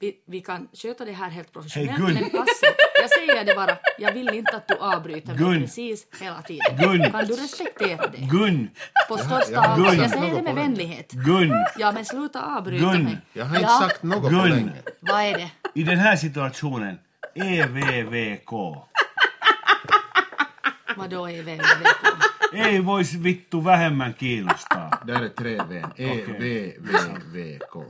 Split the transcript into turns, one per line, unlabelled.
vi, vi kan sköta det här helt professionellt
Gun.
men passa. Jag säger det bara, jag vill inte att du avbryter mig
Gun.
precis hela tiden.
Gun.
Kan du respektera det?
Gun,
På största
jag har
allvar.
inte
Jag
sagt
säger det
något
med
på det.
vänlighet.
Gun,
Ja men sluta avbryta
Gun.
mig.
Jag har inte
ja,
sagt något på
Gun.
länge.
vad är det?
i den här situationen, E EVVK.
Vadå är vänlighet?
Ei voisi vittu vähemmän kiinnostaa.
Där är tre V. E, V, V, V, K.